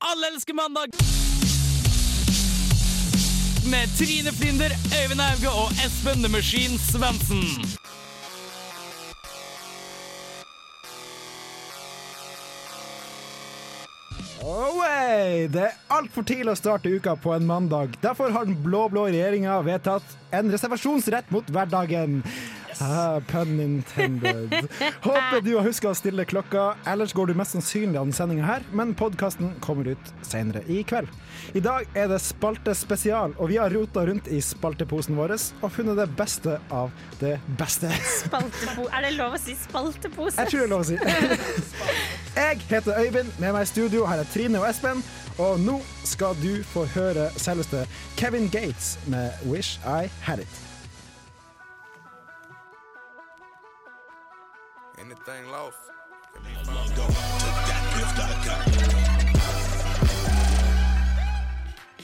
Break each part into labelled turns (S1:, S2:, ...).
S1: Alle elsker mandag! Med Trine Flinder, Øyvind Auge og Espen The Machine Svendsen.
S2: Away! Det er altfor tidlig å starte uka på en mandag. Derfor har den blå-blå regjeringa vedtatt en reservasjonsrett mot hverdagen. Ah, pun intended. Håper du har huska å stille klokka, ellers går du mest sannsynlig av denne sendinga her, men podkasten kommer ut senere i kveld. I dag er det spalte spesial, og vi har rota rundt i spalteposen vår og funnet det beste av det beste.
S3: Spaltepo er det lov å si spaltepose?
S2: Jeg tror det er lov å si. Jeg heter Øyvind, med meg i studio her er Trine og Espen. Og nå skal du få høre selveste Kevin Gates med 'Wish I Had It'.
S4: Anything lost?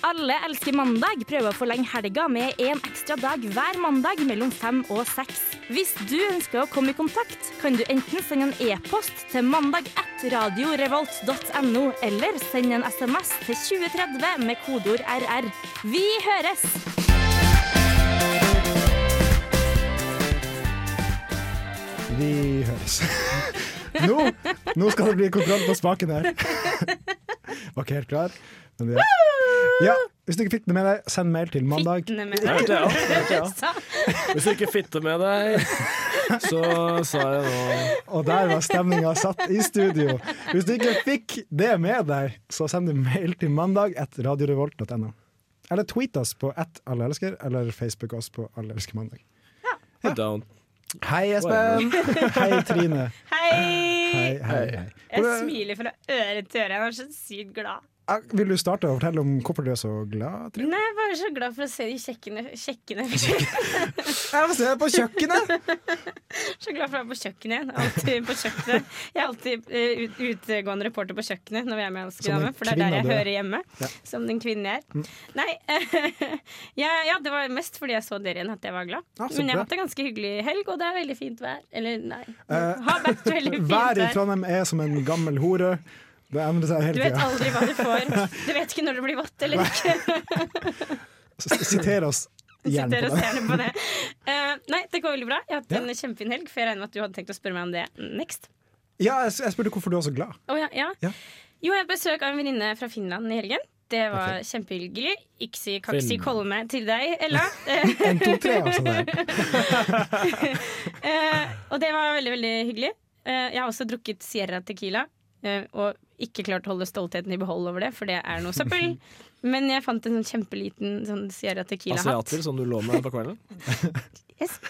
S3: Alle elsker mandag. Prøver å forlenge helga med en ekstra dag hver mandag mellom fem og seks. Hvis du ønsker å komme i kontakt, kan du enten sende en e-post til mandag1radiorevolt.no, eller sende en SMS til 2030 med kodeord RR. Vi høres!
S2: Vi høres. Nå, nå skal det bli kontroll på spaken her. Var ikke helt klar. Men vi er. Ja, hvis du ikke fikk det med deg, send mail til mandag.
S3: Fittene med
S5: Jeg
S3: deg.
S5: hørte, ja. Jeg hørte, ja.
S3: Så,
S5: Hvis du ikke fitter med deg, så sa jeg nå
S2: Og der var stemninga satt i studio. Hvis du ikke fikk det med deg, så send du mail til mandag at radiorevolt.no. Eller tweet oss på at alle elsker, eller Facebook oss på alle elsker mandag.
S5: Down.
S2: Hei, Espen! Hei, Trine.
S3: Hei!
S2: Hei, hei, hei.
S3: Jeg
S2: Hvordan-
S3: smiler fra øre til øre. Jeg var så sykt glad.
S2: Ah, Vil du starte å fortelle om hvorfor du er så glad, Trine?
S3: Nei, jeg var så glad for å se de kjekkene, kjekkene.
S2: Jeg vil se deg på kjøkkenet!
S3: Så glad for å være på kjøkkenet igjen. Alltid på kjøkkenet. Jeg er alltid eh, ut, utegående reporter på kjøkkenet når vi er med Elsker
S2: Som den
S3: dame, for det er der jeg
S2: kvinna du er.
S3: hører hjemme.
S2: Ja. Mm.
S3: Som den kvinnen jeg er. Nei, ja, ja, det var mest fordi jeg så dere igjen at jeg var glad.
S2: Ja, Ah, så
S3: Men jeg
S2: bra.
S3: har hatt en ganske hyggelig helg, og det er veldig fint vær. Eller nei,
S2: Eh,
S3: har vært veldig fint
S2: Været i
S3: vær.
S2: Trondheim er som en gammel hore. Det endrer seg
S3: Du
S2: hele
S3: vet
S2: tida.
S3: aldri hva du får. Du vet ikke når det blir vått eller ikke.
S2: Siter oss gjerne
S3: Sitter
S2: på
S3: og
S2: det.
S3: ser ned på det. Eh, nei, det går veldig bra. Jeg har hatt en kjempefin helg, for jeg regner med at du hadde tenkt å spørre meg om det next.
S2: Ja, jeg jeg spurte hvorfor du er så glad.
S3: Å, ja, ja.
S2: Ja.
S3: Jo, jeg hadde besøk av en venninne fra Finland i helgen. Det var kjempehyggelig. Iksi kaksi
S5: Finland.
S3: kolme til deg, Ella. Eh,
S2: En, to, tre, altså. Der.
S3: eh, og det var veldig, veldig hyggelig. Eh, jeg har også drukket Sierra Tequila. eh, og ikke klart å holde stoltheten i behold over det, for det er noe søppel. Men jeg fant en sånn kjempeliten sånn Sierra Tequila-hatt.
S5: Asiater som du lå med på kvelden?
S3: Espen,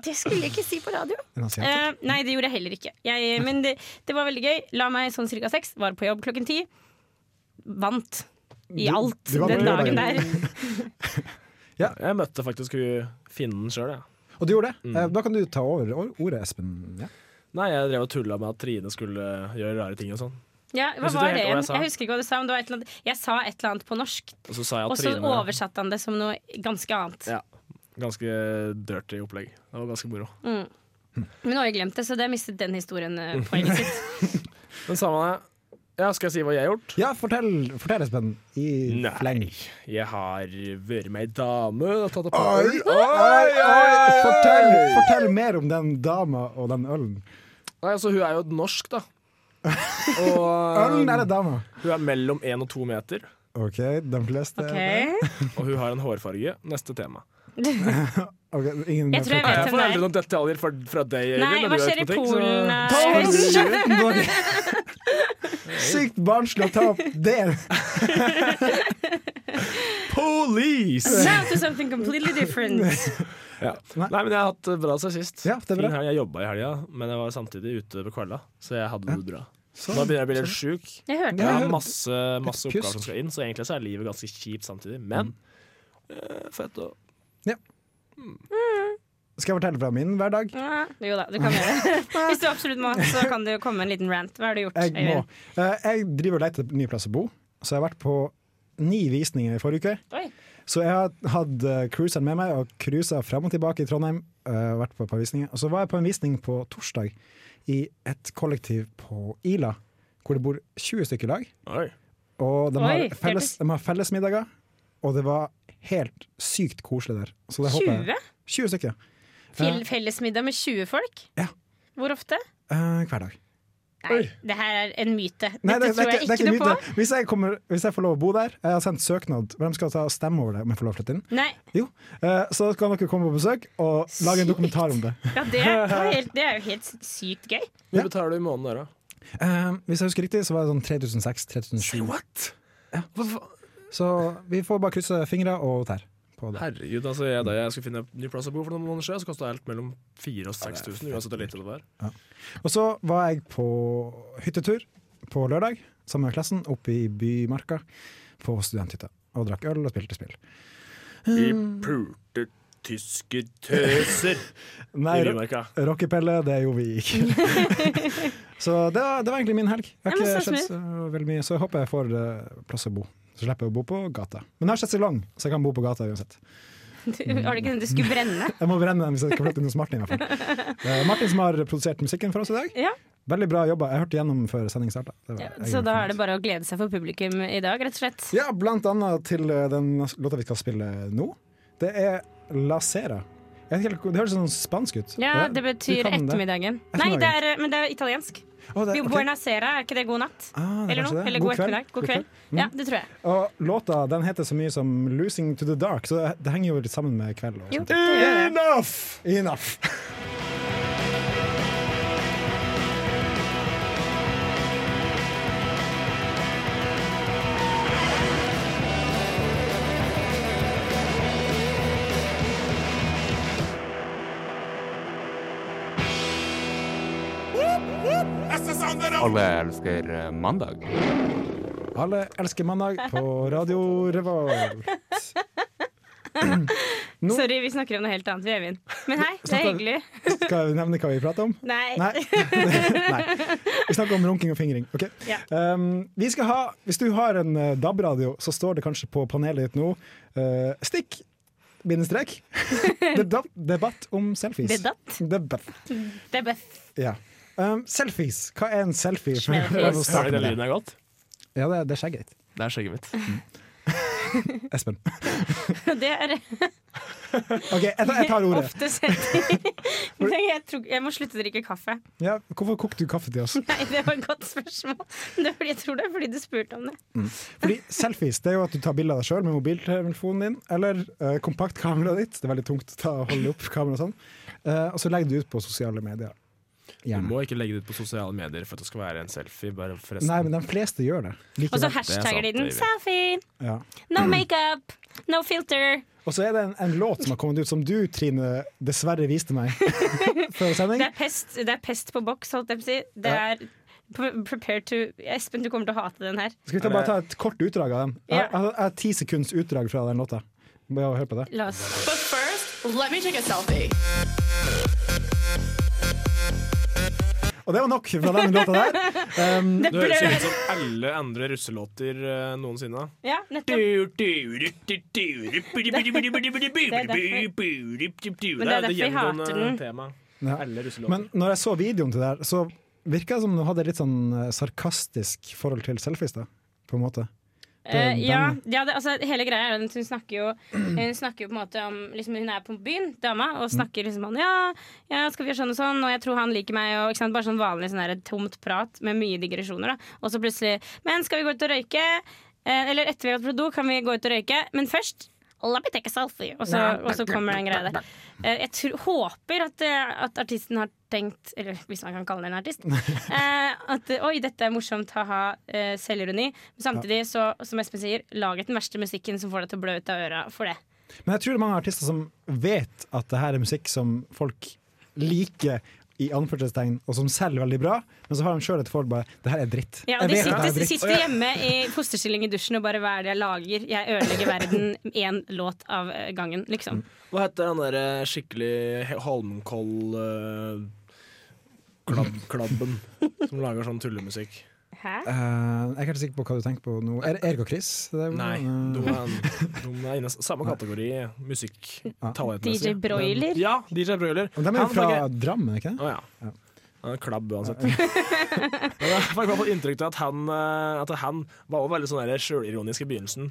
S3: det skulle jeg ikke si på radio.
S2: En asiat.
S3: Eh, nei, det gjorde jeg heller ikke. Jeg, men det, det var veldig gøy. La meg sånn cirka seks, var på jobb klokken ti. Vant i
S2: Du-
S3: alt
S2: du vant
S3: den
S2: på
S3: dagen
S2: jobben.
S3: der.
S5: Jeg møtte faktisk hun finnen sjøl, jeg.
S2: Og du gjorde det? Eh, Da kan du ta over or- ordet, Espen. Ja.
S5: Nei, jeg drev og tulla med at Trine skulle gjøre rare ting og sånn.
S3: Ja, hva
S5: Husker du helt
S3: var
S5: hva
S3: det
S5: jeg
S3: igjen?
S5: sa?
S3: Jeg husker ikke hva du sa, men det var et eller annet. Jeg sa et eller annet på norsk,
S5: Og så sa jeg
S3: og
S5: at
S3: så
S5: Trine
S3: oversatte han det som noe ganske annet.
S5: Ja. Ganske dirty opplegg. Det var ganske moro.
S3: Men nå har jeg glemt det, så det mistet den historien eh, poenget sitt.
S5: Men samme det. Ja, skal jeg si hva jeg har gjort?
S2: ja, fortell, fortell, Espen. I
S5: Nei.
S2: fleng.
S5: Jeg har vært med ei dame og tatt opp
S2: Oi, oi, oi! Fortell, fortell mer om den dama og den ølen.
S5: Nei, altså, hun er jo norsk, da. Og
S2: Ølen eller dama?
S5: hun er mellom én og to meter.
S2: OK, de fleste
S3: Ok.
S5: Og hun har en hårfarge. Neste tema.
S2: Ok, ingen
S3: Jeg tror jeg
S5: Jeg
S3: vet
S5: får
S3: hvem
S5: aldri
S3: det er.
S5: noen detaljer fra, fra deg, Øyvind.
S3: Nei,
S5: når du
S3: hva
S5: er
S3: skjer
S5: ute
S3: i
S5: på ting, så-
S3: Polen? eh?
S2: Polen! Sykt barnslig å ta opp det.
S5: Police!
S3: Now to something completely different.
S5: Ja.
S2: Eh, Nei.
S5: Nei. men jeg har hatt det bra seg sist.
S2: Ja, det er bra.
S5: Fin helg. Jeg jobba i helga, men jeg var samtidig ute på kvelda, så jeg hadde det bra.
S2: Så-
S5: Nå begynner jeg å bli litt
S2: sånn.
S5: sjuk.
S3: Jeg
S5: Jeg
S3: hørte det.
S5: har masse, masse
S2: Et pjusk.
S5: oppgaver som skal inn, så egentlig så er livet ganske kjipt samtidig. Men
S2: Mm.
S5: eh, fett å
S2: Skal jeg fortelle fra min hverdag?
S3: Ja, Ah, jo da, du kan gjøre det. Hvis du absolutt må, så kan du komme med en liten rant. Hva har du gjort?
S2: Jeg må.
S3: Øyvind?
S2: Eh, Jeg driver og leter etter ny plass å bo, så jeg har vært på ni visninger i forrige uke.
S3: Oi.
S2: Så jeg had- hadde cruiseren med meg og cruisa fram og tilbake i Trondheim. øh, vært på et par visninger. Og så var jeg på en visning på torsdag i et kollektiv på Ila, hvor det bor 20 stykker i lag.
S5: Oi.
S2: Og de
S3: Oi,
S2: har,
S3: det
S2: felles, de har fellesmiddager, og det var helt sykt koselig der. Så det håper
S3: 20?
S2: jeg. 20 stykker.
S3: Fel- Fellesmiddag med 20 folk?
S2: Ja.
S3: Hvor ofte?
S2: Eh, hver dag.
S3: Nei,
S5: Oi.
S3: det her er en myte. Dette
S2: Nei, det, det,
S3: tror
S2: er
S3: jeg
S2: ikke-
S3: ikke,
S2: det er
S3: noe
S2: ikke
S3: på.
S2: mye. Hvis jeg, kommer, hvis jeg får lov å bo der, jeg har sendt søknad, hvem skal ta og stemme over det om jeg får lov å flytte inn?
S3: Nei,
S2: Jo, eh, så kan dere komme på besøk og lage en
S3: Sykt.
S2: dokumentar om det.
S3: ja, det, er jo helt, det er jo helt sykt gøy.
S5: Hvor betaler du i måneden der, da?
S2: Eh, hvis jeg husker riktig, så var det sånn 3006-3007.
S5: what? Hva faen?
S2: Så vi får bare krysse fingre og tær på det.
S5: Herregud, altså jeg, da jeg skulle finne ny plass å bo for noen måneder siden, så kosta alt mellom 4000 og 6000, uansett hvor lite det var.
S2: Og så var jeg på hyttetur på lørdag sammen med klassen oppe i Bymarka på studenthytta. Og drakk øl og spilte spill.
S5: Vi pulte tyske tøser
S2: Nei,
S5: i
S2: ro-
S5: Bymarka.
S2: rockepelle, det gjorde vi ikke. så det var, det var egentlig min helg. Jeg har
S3: Ja, men
S2: ikke
S3: så
S2: sett så veldig mye, så jeg håper jeg får eh, plass å bo. Så slipper jeg å bo på gata. Men jeg har sett salong, så jeg kan bo på gata uansett.
S3: Du, var det ikke den du skulle brenne?
S2: Jeg må brenne den hvis jeg skal flytte inn hos Martin. I hvert fall. Det er Martin som har produsert musikken for oss i dag.
S3: Ja,
S2: Veldig bra jobba. Jeg hørte gjennom før sending starta.
S3: Så da er det bare å glede seg for publikum i dag, rett og slett.
S2: Ja, blant annet til eh, den låta vi skal spille nå. Det er La Cera. Jeg vet ikke helt hvor- Det høres sånn spansk ut.
S3: Ja,
S2: Det-
S3: det
S2: du
S3: betyr
S2: kan det.
S3: ettermiddagen. Nei, det er, men det er italiensk.
S2: Å, det-
S3: Jo,
S2: ok.
S3: Buona sera, er ikke det god natt?
S2: Ah, det er
S3: Eller
S2: kanskje
S3: noe?
S2: det.
S3: Eller god ettermiddag? God kveld?
S2: Mm.
S3: Ja, det tror jeg.
S2: Og låta den heter så mye som 'Losing to the Dark', så det, det henger jo litt sammen med kveld. Og
S3: Jo,
S2: sånt.
S3: det gjør jeg.
S2: Enough! Enough.
S4: Alle elsker eh, mandag.
S2: Alle elsker mandag på Radio Revolt. Nå-
S3: Sorry, vi snakker om noe helt annet, vi, Øyvind. Men hei, det er
S2: Snakker-
S3: hyggelig.
S2: Skal jeg nevne hva vi prater om?
S3: Nei.
S2: Nei. Nei. Vi snakker om runking og fingring. ok?
S3: Ja.
S2: Um, vi skal ha, hvis du har en eh, DAB-radio, så står det kanskje på panelet ditt nå eh, Stikk! Bindestrek. Debatt, debatt om selfies.
S3: Debatt?
S2: Debatt,
S3: Det er best.
S2: ja. Um, selfies. Hva er en selfie?
S3: Smelfies.
S2: La oss
S5: Hører
S2: starte
S5: dere den
S2: med det.
S5: lyden er godt?
S2: Ja, det, det er skjegget ditt.
S5: Det er skjegget mitt.
S2: Espen.
S3: Det er
S2: OK, jeg, tar- jeg tar ordet.
S3: ofte setting. Men jeg, tror, jeg må slutte å drikke kaffe.
S2: Ja, hvorfor kokte du kaffe til oss?
S3: Nei, det var et godt spørsmål. Det er fordi, jeg tror det er fordi du spurte om det.
S2: Fordi Selfies det er jo at du tar bilde av deg sjøl med mobiltelefonen din eller eh, kompaktkameraet ditt. Det er veldig tungt å ta, holde opp kamera og sånn. Eh, og så legger du ut på sosiale medier.
S5: Du
S2: Gjerne.
S5: må ikke legge det ut på sosiale medier for at det skal være en selfie. Bare forresten.
S2: Nei, men de fleste gjør det.
S3: Og så
S2: Likevel.
S3: hashtagger de den.
S5: David.
S3: Selfie!
S2: Ja.
S3: No makeup! No filter!
S2: Og så er det en, en låt som har kommet ut som du, Trine, dessverre viste meg før sending.
S3: Det er pest, det er pest på boks, holdt jeg på å si. Det
S2: Ja.
S3: er pre- prepare to Espen, du kommer til å hate den her.
S2: Skal vi ta, bare ta et kort utdrag av den? Jeg jeg- jeg har ti sekunds utdrag fra den låta. Bare hør på det.
S3: La oss
S6: But first, let me take a selfie.
S2: Og det var nok fra den låta der. Um,
S3: Det
S5: Det høres jo
S3: blør!
S5: ut som alle andre russelåter eh, noensinne.
S3: Ja, nettopp.
S5: Men
S3: det er derfor vi hater den.
S5: Tema.
S2: Ja.
S5: Alle russelåter.
S2: Men når jeg så videoen til det her, så virka det som om du hadde litt sånn eh, sarkastisk forhold til selfies, da. På en måte.
S3: Eh,
S2: den-
S3: ja, ja det, altså, hele greia er at hun snakker jo Hun snakker jo på en måte om liksom, Hun er på byen, dama, og
S2: Mm.
S3: snakker liksom om ja, ja, skal vi gjøre sånn og sånn, og jeg tror han liker meg, og ikke sant, bare sånn vanlig sånn der, tomt prat med mye digresjoner, da. Og så plutselig Men skal vi gå ut og røyke? Eh, eller etter vi har gått på do, kan vi gå ut og røyke? Men først La meg take a selfie. Og så, og så kommer den greia der. Eh, jeg tror, håper at, eh, at artisten har tenkt, eller hvis man kan kalle det en artist, eh, at eh, oi, dette er morsomt, ha-ha, eh, selvironi. Men samtidig, så, som Espen sier, lag den verste musikken som får deg til å blø ut av øra for det.
S2: Men jeg tror det er mange artister som vet at det her er musikk som folk liker, i anførselstegn, og som selger veldig bra, men så har de sjøl et forhold bare Det her er dritt.
S3: Ja, og
S2: Jeg vet
S3: de
S2: at det er
S3: sitter,
S2: dritt.
S3: sitter hjemme i fosterstilling i dusjen og bare hva er det jeg lager? Jeg ødelegger verden én låt av eh, gangen, liksom.
S5: Hva heter han derre skikkelig Holmenkoll eh, klabb, Klabben som lager sånn tullemusikk?
S3: Hæ?
S2: Eh, jeg er ikke helt sikker på hva du tenker på nå. Er Erik og Chris? Det er-
S5: Nei, de
S2: eh,
S5: er, de er inne samme kategori musikk
S3: DJ
S5: talentmessig.
S3: Broiler.
S5: Ja, DJ Broiler.
S2: men De er jo
S5: Han
S2: fra
S5: lager-
S2: Drammen, er ikke det?
S5: Å ja. Han er en klabb uansett. Men jeg fikk i hvert fall inntrykk av at han, eh, at han var også veldig sånn der sjølironisk i begynnelsen.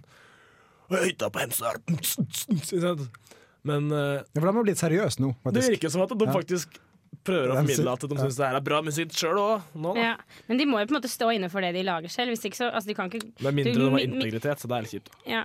S5: Og jeg hytta på Hemsedal! Ikke sant? Men eh,
S2: Ja, for de har blitt seriøse nå,
S5: det
S2: faktisk.
S5: virker som at de faktisk prøver å
S2: De
S5: formidle at de
S2: sy-
S5: syns det her er bra musikk sjøl òg.
S3: Ja. Men de må jo på en måte stå inne for det de lager selv. Hvis ikke så, altså, de kan ikke
S5: Med mindre
S3: du-
S5: de har
S3: mi- mi-
S5: integritet, så det er litt kjipt.
S3: Ja.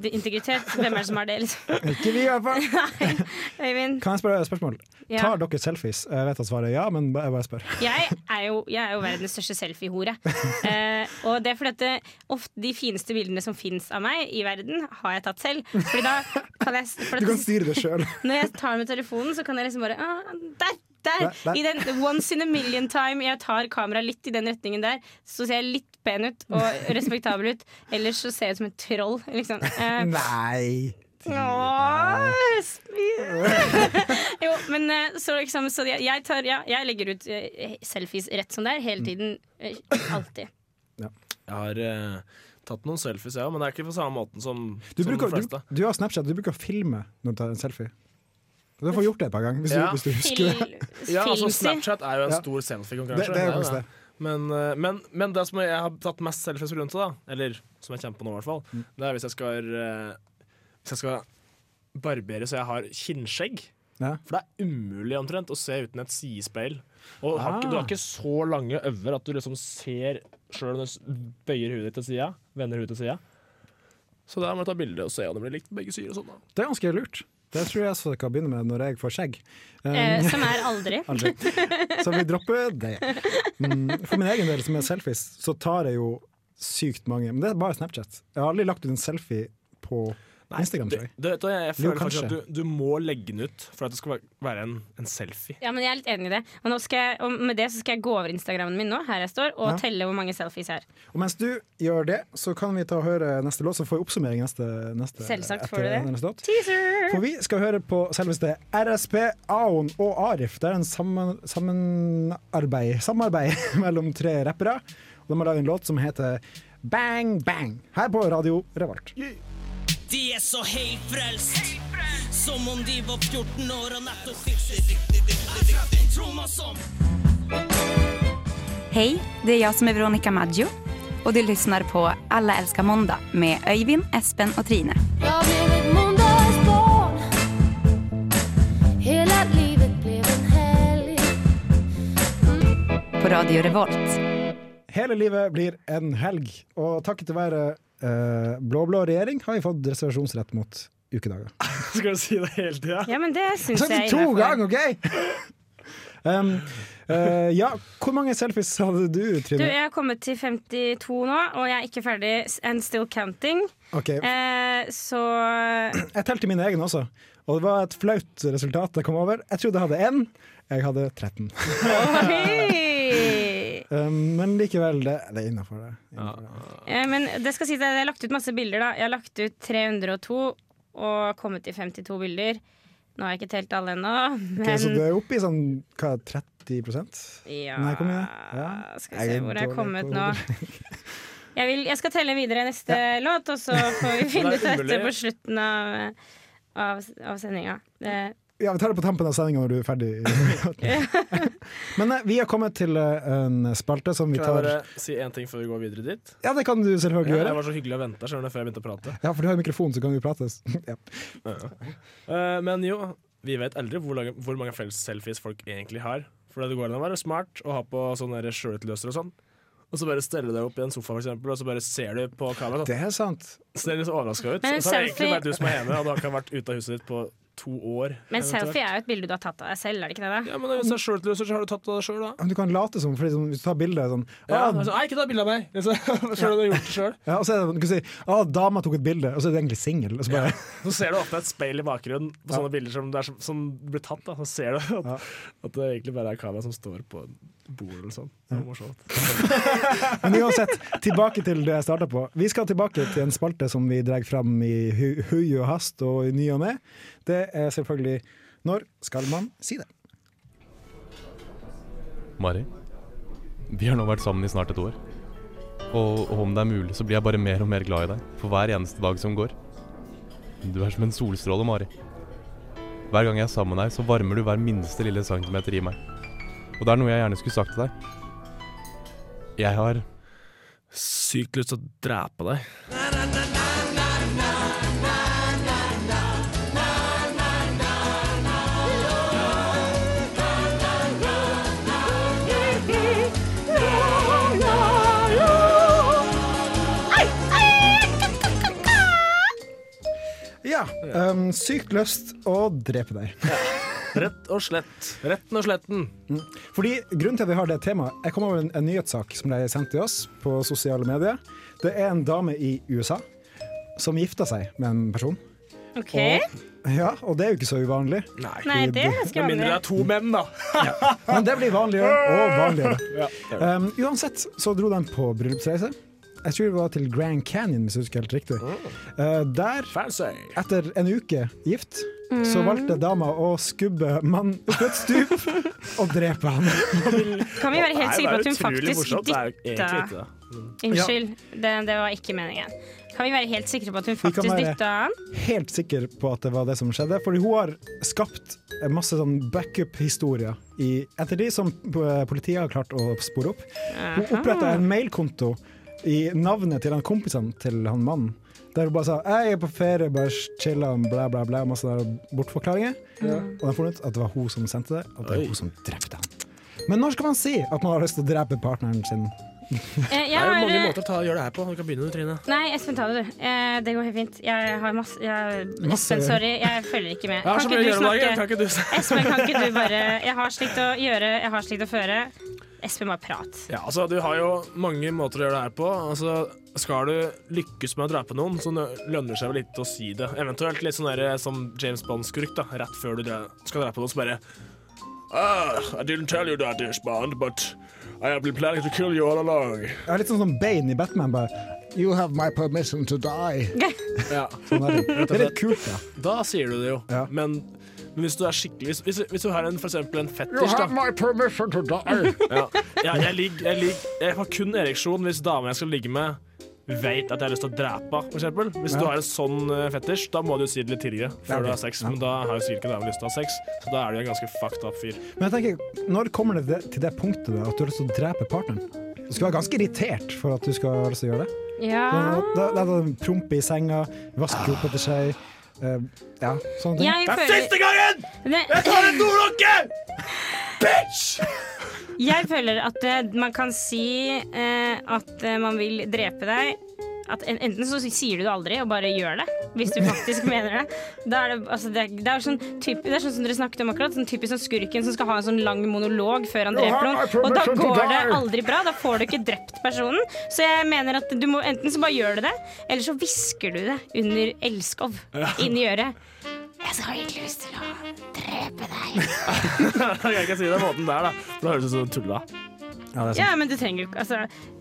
S3: Det- Integritet. Hvem er det som har det, liksom?
S2: Ikke vi, i hvert fall.
S3: Øyvind?
S2: Kan jeg spørre et spørsmål?
S3: Ja.
S2: Tar dere selfies? Jeg vet at svaret er ja, men jeg bare spør.
S3: Jeg er jo, jeg er jo verdens største selfiehore. Eh, og det er fordi at det, ofte de fineste bildene som fins av meg i verden, har jeg tatt selv. Fordi da kan jeg for at-
S2: Du kan styre det sjøl.
S3: Når jeg tar med telefonen, så kan jeg liksom bare ah, Der! Der!
S2: Der, der.
S3: I den once in a million time jeg tar kameraet litt i den retningen der, så ser jeg litt pen ut og respektabel ut. Ellers så ser jeg ut som et troll, liksom. Eh,
S2: Nei!
S3: åh, spi- jo, men eh, så liksom Så jeg, jeg tar Ja, jeg legger ut eh, selfies rett som det er, hele tiden. eh, Alltid.
S5: Jeg har eh, tatt noen selfies, jeg òg, men det er ikke på samme måten som,
S2: Du,
S5: som
S2: bruker,
S5: de
S2: du,
S5: fleste.
S2: du har Snapchat, du bruker å filme når du tar en selfie. Du har fått gjort det et par ganger, hvis,
S5: Ja.
S2: du, hvis du
S3: Fil,
S2: husker det.
S5: Ja, altså
S3: filmsy.
S5: Snapchat er jo en
S2: Ja.
S5: stor
S2: Det,
S5: selfie-konkurranse.
S2: det er jo
S5: jo
S2: faktisk det.
S5: Men, eh, men, men det som jeg har tatt mest selfies rundt til, da, eller som jeg kjemper på nå, i hvert fall,
S2: Mm.
S5: det er hvis jeg skal eh, Hvis jeg skal barbere så jeg har kinnskjegg.
S2: Ja.
S5: For det er umulig omtrent å se uten et sidespeil. Og har
S2: Ah.
S5: ikke, du har ikke så lange øver at du liksom ser sjøl når du s- bøyer hudet ditt til sida. Vender hudet til sida. Så der må du ta bilde og se om det blir likt på begge sider. og sånn da.
S2: Det er ganske lurt. Det tror jeg også jeg skal begynne med når jeg får skjegg. Um,
S3: Eh, som er aldri.
S2: Aldri. Så vi dropper det. Mm, for min egen del, som er selfies, så tar jeg jo sykt mange. Men det er bare Snapchat. Jeg har aldri lagt ut en selfie på Instagram.
S5: Du,
S2: tror jeg.
S5: du, vet du, jeg
S2: Jo,
S5: føler kanskje at
S2: kanskje.
S5: du, du må legge den ut for at det skal være- være en, en selfie.
S3: Ja, men jeg er litt enig i det. Og, nå skal jeg, og med det så skal jeg gå over Instagrammen min nå, her jeg står, og
S2: Ja.
S3: telle hvor mange selfies jeg har.
S2: Og mens du gjør det, så kan vi ta og høre neste låt, så får vi oppsummering neste, neste
S3: Selvsagt får
S2: etter
S3: du det.
S2: neste låt.
S3: Teaser!
S2: For vi skal høre på selveste RSP, Aon og Arif. Det er en sammen, sammenarbeid, samarbeid mellom tre rappere. Og de har laget en låt som heter Bang Bang, her på Radio Revolt.
S7: De er så helt frelst Som om de var 14 år og nettopp fikset Troma som
S8: Hej, det är jag som är Veronica Maggio och du lyssnar på Alla älskar måndag med Öyvind, Espen och Trine.
S9: Jag blev ett måndagsbarn Hela livet blev en helg
S8: På Radio Revolt.
S2: Hele livet blir en helg, og takket være eh, blå-blå regjering har vi fått reservasjonsrett mot ukedager.
S5: Skal du si det hele tida?
S3: Ja, men det syns
S2: Så det er
S3: jeg
S2: Altså, to
S3: innenfor.
S2: ganger, OK? um, eh, ja, hvor mange selfies hadde du,
S3: Du,
S2: Trine?
S3: jeg har kommet til 52 nå, og jeg er ikke ferdig. And still counting.
S2: Ok,
S3: Eh, så
S2: Jeg telte mine egne også, og det var et flaut resultat jeg kom over. Jeg trodde jeg hadde én, jeg hadde 13.
S3: Oi!
S2: Um, men likevel, det, det er innafor det. Innenfor det.
S3: Eh, Men det skal sies at jeg har lagt ut masse bilder, da. Jeg har lagt ut 302 og kommet til 52 bilder. Nå har jeg ikke telt alle ennå, men
S2: Ok, så du er oppe i sånn hva, 30
S3: Ja,
S2: Nei, hvor mye? Ja.
S3: Skal vi se
S2: Jeg er
S3: hvor jeg har
S2: dårlig
S3: kommet
S2: på-
S3: nå. Jeg, vil, jeg skal telle videre neste låt, og så får vi finne ut
S5: Det er
S3: dette
S5: umulig.
S3: på slutten av, av, av Eh, sendinga. Det-
S2: Ja, vi tar det på tampen av sendinga når du er ferdig. men eh, vi har kommet til eh, en spalte som vi
S5: Kan jeg
S2: tar
S5: bare si én ting før vi går videre dit?
S2: Ja, det kan du selvfølgelig
S5: Ja, det
S2: gjøre.
S5: var så hyggelig å vente skjønner du, før jeg begynte å prate.
S2: Ja, for du har jo mikrofon, så kan vi prates. ja.
S5: Eh, men jo, vi vet aldri hvor, lange, hvor mange flere selfies folk egentlig har. For det går an å være smart og ha på sånne der sjølutløsere og sånn. Og så bare stelle deg opp i en sofa, for eksempel, og så bare ser du på kameraet.
S2: Det er sant.
S5: Så ser du litt overraska ut.
S3: Men
S5: Og
S3: en
S5: så er det
S3: selfie-
S5: egentlig bare du som er hjemme, og du har ikke vært ute av huset ditt på to år.
S3: Men
S5: eventuelt.
S3: selfie er jo et bilde du har tatt av deg selv, er det ikke det? da?
S5: Ja, men hvis det er sjølutløser, så har du tatt av deg sjøl, da.
S2: Men Du kan late som, fordi sånn, hvis du tar bilde sånn
S5: Ja,
S2: ah,
S5: altså, Nei, ikke ta bilde av meg! Liksom. Selv om du har gjort det sjøl.
S2: ja, Og så er det, du kan si ah, 'dama tok et bilde', og så er du egentlig singel. og så bare-
S5: Så ser du ofte et speil i bakgrunnen på sånne bilder som, det er, som, som blir tatt. Da. Så ser du at, at det egentlig bare er kamera som står på bordet eller sånn. Det er morsomt.
S2: Men uansett, tilbake til det jeg starta på. Vi skal tilbake til en spalte som vi drar fram i hu hui og hast og i ny og ne. Det er selvfølgelig Når skal man si det?
S10: Mari, de har nå vært sammen i snart et år. Og, og om det er mulig, så blir jeg bare mer og mer glad i deg for hver eneste dag som går. Du er som en solstråle, Mari. Hver gang jeg er sammen med deg, så varmer du hver minste lille centimeter i meg. Og det er noe jeg gjerne skulle sagt til deg. Jeg har
S5: Sykt lyst til å drepe deg.
S2: Ja. Um, sykt lyst å drepe deg.
S5: Rett og slett. Retten og sletten.
S2: Fordi Grunnen til at vi har det temaet Jeg kom over en, en nyhetssak som ble sendt til oss på sosiale medier. Det er en dame i USA som gifta seg med en person.
S3: OK.
S2: Og, ja, og det er jo ikke så uvanlig.
S3: Nei, det er ganske
S5: Med mindre det
S3: vanlig.
S5: er to menn, da.
S2: Men det blir vanligere og vanligere. Um, uansett så dro de på bryllupsreise. Jeg tror det var til Grand Canyon, hvis jeg husker helt riktig. Uh, der,
S5: Fancy.
S2: etter en uke gift, så valgte dama å skubbe mannen opp et stup og drepe han.
S3: Kan vi være helt sikre på at hun
S5: utrolig
S3: faktisk
S5: morsomt. Det er jo egentlig
S3: dytta
S5: ikke det.
S3: Unnskyld, det, det var ikke meningen. Kan vi være helt sikre på at hun
S2: kan
S3: faktisk
S2: være-
S3: dytta han?
S2: Helt sikker på at det var det som skjedde, fordi hun har skapt masse sånn backup-historier i ettertid som eh, politiet har klart å spore opp. Hun oppretta en mailkonto i navnet til han kompisene til han mannen. Der hun bare sa 'jeg er på ferie, bare chiller'n, bla, bla, bla'. Masse der bortforklaringer. Og de fant ut at det var hun som sendte det, og det er hun som drepte han. Men når skal man si at man har lyst til å drepe partneren sin?
S5: Det er
S3: Eh, jeg
S5: jo
S3: har,
S5: mange
S3: eh,
S5: måter å ta, gjøre det her på. Du kan begynne, du, Trine.
S3: nei, Espen, ta det, du. Eh, det går helt fint. Jeg har masse jeg,
S2: Masse-
S3: Espen, sorry, jeg følger ikke med.
S5: Jeg har
S3: Kan
S5: så mye å
S3: ikke du
S5: gjøre om dagen.
S3: snakke?
S5: Kan ikke du snakke?
S3: Espen, kan ikke du bare Jeg har slikt å gjøre, jeg har slikt å føre. Espen, bare prat.
S5: Ja, altså, du har jo mange måter å gjøre det her på. Altså, skal du lykkes med å drepe noen, så lønner det seg vel litt å si det. Eventuelt litt sånn der, som James Bond-skurk, da. Rett før du dre- skal drepe noen, så bare ah, I didn't tell you that, James Bond, but I have been planning to kill you all along.
S2: Jeg er litt sånn som Bane i Batman, bare 'You have my permission to die'.
S5: Ja.
S2: Sånn er det. det er litt kult, da.
S5: Da sier du det jo.
S2: Ja.
S5: Men, men hvis du er skikkelig Hvis, hvis, hvis du har en, for eksempel en fetisj, da.
S2: my permission to die.
S5: Ja. Ja, jeg, ligger, jeg, ligger, jeg har kun ereksjon hvis dama jeg skal ligge med, veit at jeg har lyst til å drepe henne, for eksempel. Hvis du har en sånn eh, fetisj, da må du si det litt tidligere
S2: Ja, ok.
S5: før du har sex. Men da har jo sikkert ikke dama lyst til å ha sex, så da er du en ganske fucked up fyr.
S2: Men jeg tenker, når kommer det til- til det punktet da, at du har lyst til å drepe partneren? Du skal være ganske irritert for at du skal ha lyst til å gjøre det.
S3: Ja.
S2: Da, da, da, da Prompe i senga, vaske opp etter seg. eh, ja, sånne ting.
S3: Jeg føler,
S5: gangen!
S3: det,
S5: tar en dorukke! Bitch!
S3: jeg føler at eh, man kan si eh, at eh, man vil drepe deg. At en- enten så sier du det aldri og bare gjør det, hvis du faktisk mener det. Da er det, altså det, er- det, er sånn typ, det er sånn som dere snakket om akkurat, sånn typisk sånn skurken som skal ha en sånn lang monolog før han dreper noen. Og da går det aldri bra. Da får du ikke drept personen. Så jeg mener at du må enten så bare gjør du det, eller så hvisker du det under elskov inn i øret. Jeg skal egentlig lyst til å drepe deg.
S5: Jeg kan ikke si det på måten der, da. For da høres det ut som en tulla.
S3: Ja, men du trenger jo ikke altså,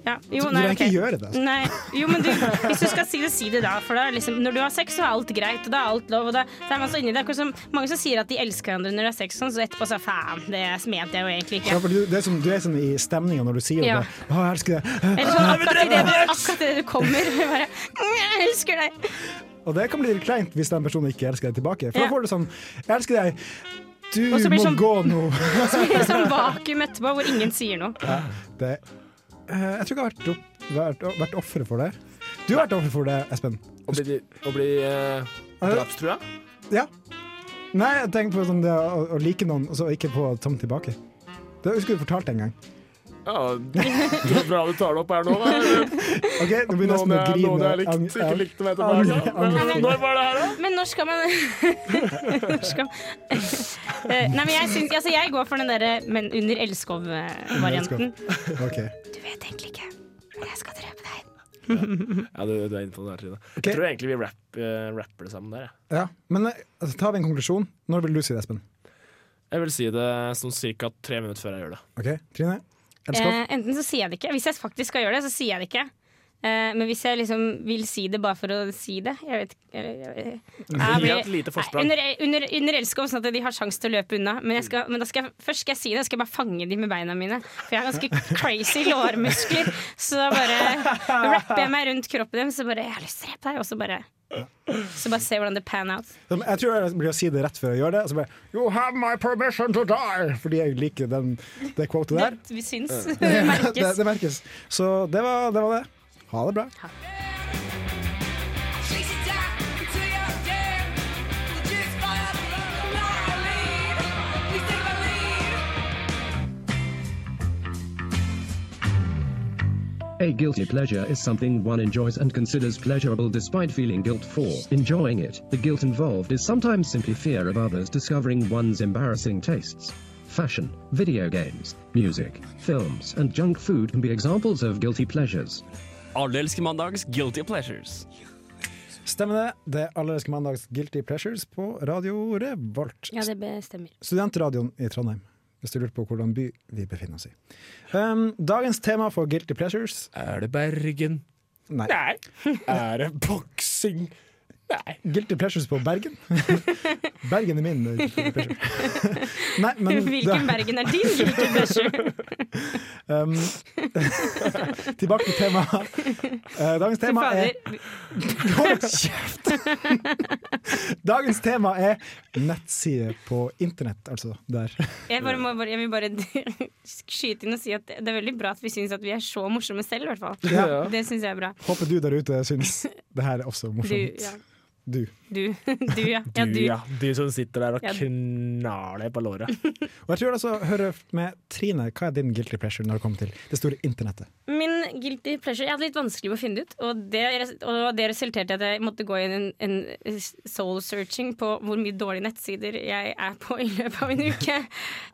S3: ja. jo,
S2: Du
S3: nei,
S2: trenger ikke
S3: ok.
S2: gjøre det, altså.
S3: Nei, jo, men du, hvis du skal si det, si det da. For da er liksom, når du har sex, så er alt greit. Og da er alt lov. Og da, da er man så inni det. Det er akkurat som mange som sier at de elsker hverandre når de har sex, og sånn, så etterpå så faen, det mente jeg jo egentlig
S2: Ja,
S3: ikke.
S2: for du, det er som, du er sånn i stemninga når du sier
S3: Ja.
S2: det. Å, jeg elsker det.
S3: Eller sånn akkurat i det du, akkurat i det du kommer. Bare, «Mm, jeg elsker deg.
S2: Og det kan bli litt kleint hvis den personen ikke elsker deg tilbake. For
S3: Ja.
S2: da får du sånn Jeg elsker deg. Du
S3: Og så blir
S2: må
S3: det sånn-
S2: gå nå.
S3: Så blir det sånn vakuum etterpå hvor ingen sier noe.
S2: Det, eh, jeg tror ikke jeg har vært, opp, vært, vært offer for det. Du har vært offer for det, Espen.
S5: Å bli, å bli eh, drapstrua?
S2: Ja. Nei, jeg tenker på sånn det å, å like noen, og så ikke få tom tilbake. Det husker du fortalte en gang.
S5: Ja, bra du tar det opp her nå, da.
S2: Ok, Nå blir jeg nesten å grine. Ang- ang-
S5: likte meg
S2: tilbake. Ang- ang-
S5: Når var det her, da?
S3: Men når skal man Når skal Eh, Nei, men jeg, syns, altså, jeg går for den derre men under elskov-varianten.
S2: ok.
S3: Du vet egentlig ikke, men jeg skal drepe deg.
S5: Ja, du, du er inne på det her, Trine.
S2: Ok.
S5: Jeg tror egentlig vi rap, eh, rapper det sammen der. jeg.
S2: Ja. Men eh, altså, tar vi en konklusjon? Når vil du si det, Espen?
S5: Jeg vil si det sånn ca. tre minutter før jeg gjør det.
S2: Ok, Trine? Elskov?
S3: Eh, enten så sier jeg det ikke. Hvis jeg faktisk skal gjøre det, så sier jeg det ikke. Eh, men hvis jeg liksom vil si det bare for å si det Jeg vet ikke jeg, jeg, jeg, jeg
S5: Gi et lite forsprang.
S3: Nei, Under, under, under elskov, sånn at de har sjanse til å løpe unna. Men, jeg skal, men da skal jeg, først skal jeg si det, så skal jeg bare fange de med beina mine. For jeg har ganske crazy lårmuskler. Så da bare rapper jeg meg rundt kroppen deres, så bare Jeg har lyst til å drepe deg. Og så bare Så bare se hvordan det pan out.
S2: Jeg tror jeg blir å si det rett før jeg gjør det. Så bare, you have my permission to die! Fordi jeg liker den, det quotet der.
S3: Det, vi syns. Det
S2: det,
S3: merkes.
S2: det merkes. Så det var, det var det. Ha det bra.
S11: A guilty pleasure is something one enjoys and considers pleasurable despite feeling guilt for enjoying it. The guilt involved is sometimes simply fear of others discovering one's embarrassing tastes. Fashion, video games, music, films, and junk food can be examples of guilty pleasures.
S12: Alle elsker mandags guilty pleasures.
S2: Stemmer det. Det er Alle elsker mandags Guilty Pleasures på Radio Revolt.
S3: Ja, det bestemmer.
S2: Studentradioen i Trondheim, hvis du lurer på hvordan by vi befinner oss i. Um, dagens tema for Guilty Pleasures
S12: Er det Bergen?
S2: Nei. Ehm,
S5: Er det boksing? Nei.
S2: Guilty Pleasures på Bergen? Bergen er min eh, guilty pleasure. Nei, men
S3: Hvilken Bergen er din guilty pleasure?
S2: Um, tilbake til temaet. Eh, dagens tema er Hold kjeft! Dagens tema er nettsider på internett, altså. Der.
S3: Jeg, bare må, bare, jeg vil bare skyte inn og si at det det er veldig bra at vi syns at vi er så morsomme selv, i hvert fall.
S2: Ja.
S3: Det syns jeg er bra.
S2: Håper du der ute syns det her er også
S3: Du,
S2: morsomt.
S3: ja.
S2: Du.
S3: Du, du ja. ja,
S5: Du,
S3: du.
S5: ja. Du som sitter der og
S3: Ja.
S5: knar deg på låret.
S2: Og jeg tror altså, hører med Trine, hva er din guilty pleasure når det kommer til det store internettet?
S3: Min guilty pleasure Jeg hadde litt vanskelig med å finne det ut. Og det, res- og det resulterte i at jeg måtte gå inn en, en soul searching på hvor mye dårlige nettsider jeg er på i løpet av en uke.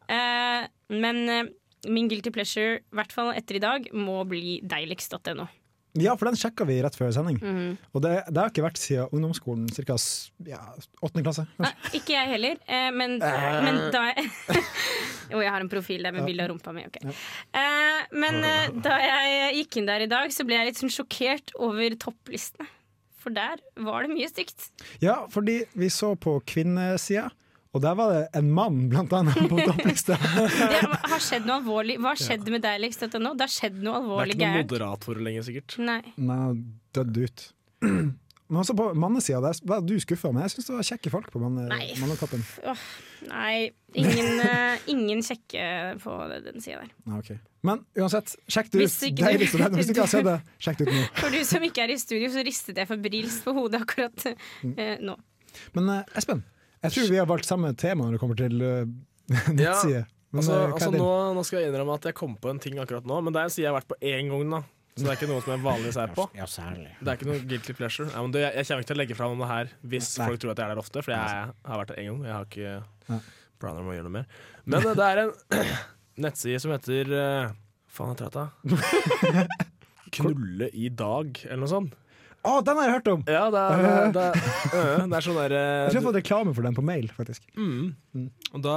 S3: Eh, men eh, min guilty pleasure, i hvert fall etter i dag, må bli deiligst.no.
S2: Ja, for den sjekka vi rett før sending.
S3: Mhm.
S2: Og det, det har ikke vært siden ungdomsskolen, ca. Ja, 8. klasse. kanskje.
S3: Ikke jeg heller, eh, men, men da jeg Jo, jeg har en profil der med
S2: Ja.
S3: bilde av rumpa mi. ok. Eh, men eh, da jeg gikk inn der i dag, så ble jeg litt sånn sjokkert over topplistene. For der var det mye stygt.
S2: Ja, fordi vi så på kvinnesida, og der var det en mann, blant annet, på topplista.
S3: Det har skjedd noe alvorlig Hva skjedde med deg, Lex? Dette nå? Det har skjedd noe
S5: Det er
S3: alvorlig
S5: ikke noen
S3: gærent.
S5: moderatorer lenger, sikkert.
S3: Nei.
S2: Nei, dødde ut. Men også på mannesida, der var du skuffa, men jeg syns det var kjekke folk på manne,
S3: Nei.
S2: mannetoppen.
S3: Åh, nei. Ingen, eh, ingen sjekke på den sida der.
S2: Ja, ok. Men uansett, sjekk det ut.
S3: Hvis ikke du-
S2: Deilig som det er. Hvis du ikke har sett det, sjekk det ut nå.
S3: For du som ikke er i studio, så ristet jeg febrilsk på hodet akkurat eh, nå.
S2: Men eh, Espen, jeg tror vi har valgt samme tema når det kommer til uh, nettside. Men,
S5: Altså,
S2: eh, hva er
S5: altså
S2: din?
S5: nå, nå skal jeg innrømme at jeg kom på en ting akkurat nå, men det er en side jeg har vært på én gang nå. Så det er ikke noe som jeg vanligvis er på.
S2: Ja, særlig.
S5: Det er ikke noe guilty pleasure. Ja, men du, jeg, jeg kommer ikke til å legge fram om det her hvis
S2: Nei.
S5: folk tror at jeg er der ofte, for jeg har vært der én gang. og Jeg har ikke
S2: Nei.
S5: planer om å gjøre noe mer. Men eh, det er en nettside som heter eh, Faen, jeg trata. Knulle i dag, eller noe sånt.
S2: Å, den har jeg hørt om!
S5: Ja, det er, det er, øh, det er sånn
S2: Jeg tror jeg
S5: derre
S2: har fått reklame for den på mail, faktisk.
S5: Mm. Og da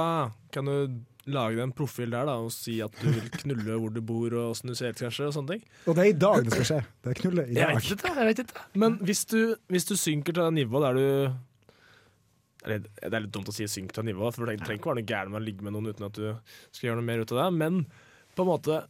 S5: kan du lage deg en profil der da, og si at du vil knulle hvor du bor og åssen du ser ut, kanskje. og sånne ting.
S2: Og det er i dag det skal skje. Det er knullet i
S5: Jeg
S2: dag.
S5: vet ikke, jeg vet ikke. Men hvis du, hvis du synker til det nivået der du eller, Det er litt dumt å si synk til nivå, for det trenger ikke være noe gærent med å ligge med noen uten at du skal gjøre noe mer ut av det, men på en måte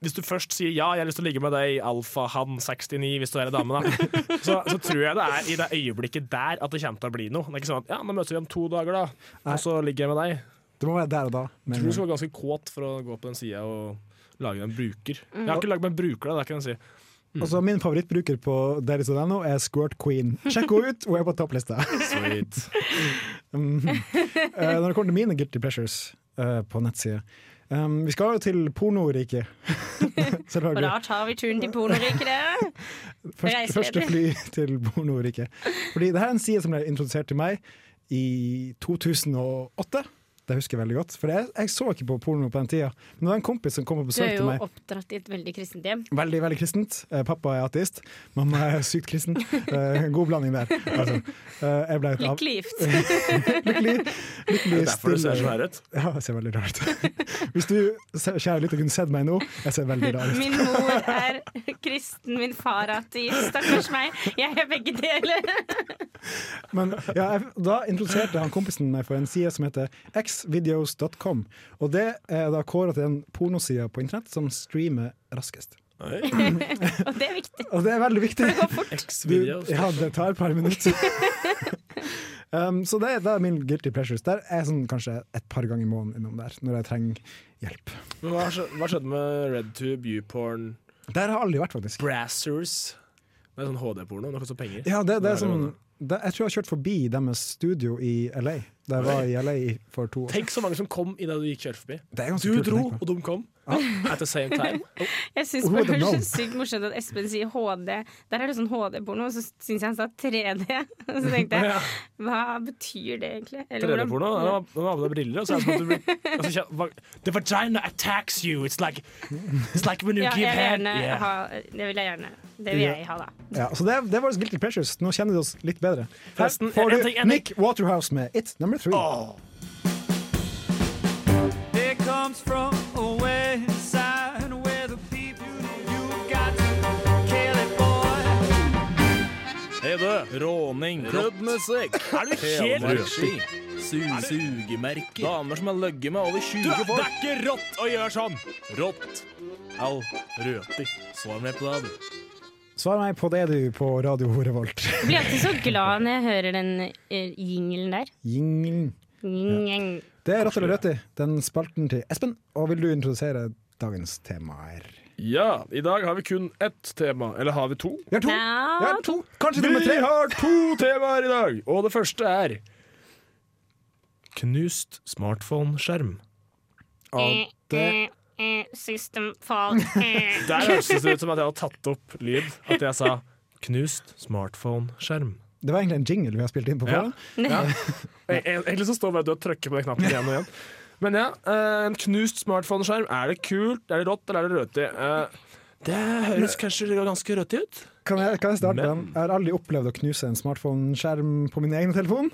S5: hvis du først sier ja, jeg har lyst til å ligge med deg, alfahann69, hvis du er en dame, da, så, så tror jeg det er i det øyeblikket der at det kommer til å bli noe. Det er ikke sånn at ja, nå møtes vi om to dager, da, og så ligger jeg med deg.
S2: Det må være der og da.
S5: Jeg
S2: Men,
S5: tror du skal være ganske kåt for å gå på den sida og lage deg en bruker. Jeg har ikke lagd meg en bruker, da, det kan jeg si.
S2: altså, min favorittbruker på Daily.no er Squirt Queen. Sjekk henne ut, hun er på topplista.
S5: Sweet.
S2: Mm. Eh, når det kommer til mine guilty pleasures eh, på nettsida um, Vi skal jo til pornoriket.
S3: Og
S2: Selvfølgelig.
S3: da tar vi turen til pornoriket. det.
S2: Først,
S3: reiser
S2: første
S3: det.
S2: fly til pornoriket. Fordi det her er en side som ble introdusert til meg i 2008. Det husker jeg veldig godt. For jeg, jeg så ikke på porno på den tida. Men det var en kompis som kom på
S3: Du
S2: besøk
S3: er
S2: til
S3: jo
S2: meg.
S3: oppdratt i et veldig kristent hjem.
S2: Veldig, veldig kristent. Eh, Pappa er ateist. Mamma er sykt kristen. Eh, god blanding der. Altså, eh, jeg ble et av-
S3: Lykkelig gift.
S2: Lykkelig
S5: Det er derfor du
S2: stille-
S5: ser så rar ut.
S2: Ja, jeg ser veldig rar ut. Hvis du, se- kjære lytter, kunne sett meg nå, jeg ser veldig rar ut.
S3: Min mor er kristen, min far er ateist. Stakkars meg. Jeg er begge deler.
S2: Men ja, jeg, da introduserte han kompisen meg for en side som heter xvideos.com. Og det er da kåra til den pornosida på internett som streamer raskest.
S3: Og det er viktig.
S2: Og det er veldig viktig. Det
S3: går
S5: fort.
S2: Du, ja, det tar et par minutter. um, så det, er- det er min guilty pleasures. Der er jeg sånn kanskje et par ganger i måneden innom der, når jeg trenger hjelp.
S5: Men hva, skj- hva skjedde med RedTube, YouPorn,
S2: Der har jeg aldri vært, faktisk.
S5: Brassers? Det er sånn HD-porno, det koster penger.
S2: Ja, det, det er
S5: Nå jo-
S2: sånn det, Jeg tror jeg har kjørt forbi deres studio i LA. Da jeg var i LA for to år siden.
S5: Tenk så mange som kom i det du gikk kjørt forbi.
S2: Det er ganske
S5: Du
S2: kult å
S5: dro,
S2: tenke på.
S5: og de kom. At the same time.
S3: Jeg syns
S5: Who
S3: bare
S5: would've
S3: det
S5: known?
S3: er sykt morsomt at Espen sier HD. Der er det sånn HD-porno, og så syns jeg han sa 3D. Så tenkte jeg, hva betyr det egentlig? Eller hvordan-
S5: 3D-porno. Den har- Den har på deg briller, og så er det som at du blir og så kjen- hva- The vagina attacks you. It's like, it's like when you
S3: Ja,
S5: give
S3: jeg vil
S5: hand.
S3: gjerne
S5: Yeah.
S3: ha Det vil jeg gjerne. Det vil
S2: Ja.
S3: jeg ha, da.
S2: Ja, så det, er- det var Guilty Pleasures. Nå kjenner du oss litt bedre. Her
S5: Forresten,
S2: får
S5: en-
S2: du
S5: en ting- en ting.
S2: Nick Waterhouse med It's Number Three.
S7: It comes from a west side where the people you got to kill it, boy.
S5: Hei du, råning, klubbmusikk, er du helt
S12: Telemarksski,
S5: sugemerker, damer som har løgget med over 20
S12: Du, det
S5: folk.
S12: er
S5: ikke rått å gjøre sånn! Rått. Au, røti. Svar meg på det, du.
S2: Svar meg på det, du, på Radio Revolt.
S3: Jeg blir alltid så glad når jeg hører den eh, jingelen der.
S2: Jingling.
S3: Jing.
S2: Det er Rått eller rødt, den spalten til Espen. Og vil du introdusere dagens tema her?
S5: Ja, i dag har vi kun ett tema. Eller har vi to?
S2: Vi har to.
S3: Vi
S2: har to. Kanskje nummer
S5: Vi
S2: tre.
S5: har to temaer i dag, og det første er Knust smartphone-skjerm.
S3: Eh, eh, eh, System fall. Eh.
S5: Der høres det ut som at jeg har tatt opp lyd. At jeg sa 'knust smartphone-skjerm'.
S2: Det var egentlig en jingle vi har spilt inn på forhånd.
S5: Ja. E- e- Egentlig så står bare du og trykker på den knappen igjen og igjen. Men ja, eh, en knust smartphone-skjerm. Er det kult, er det rått, eller er det røti? Eh, Det høres kanskje ganske røti ut.
S2: Kan jeg, kan jeg starte med den? Jeg har aldri opplevd å knuse en smartphone-skjerm på min egen telefon.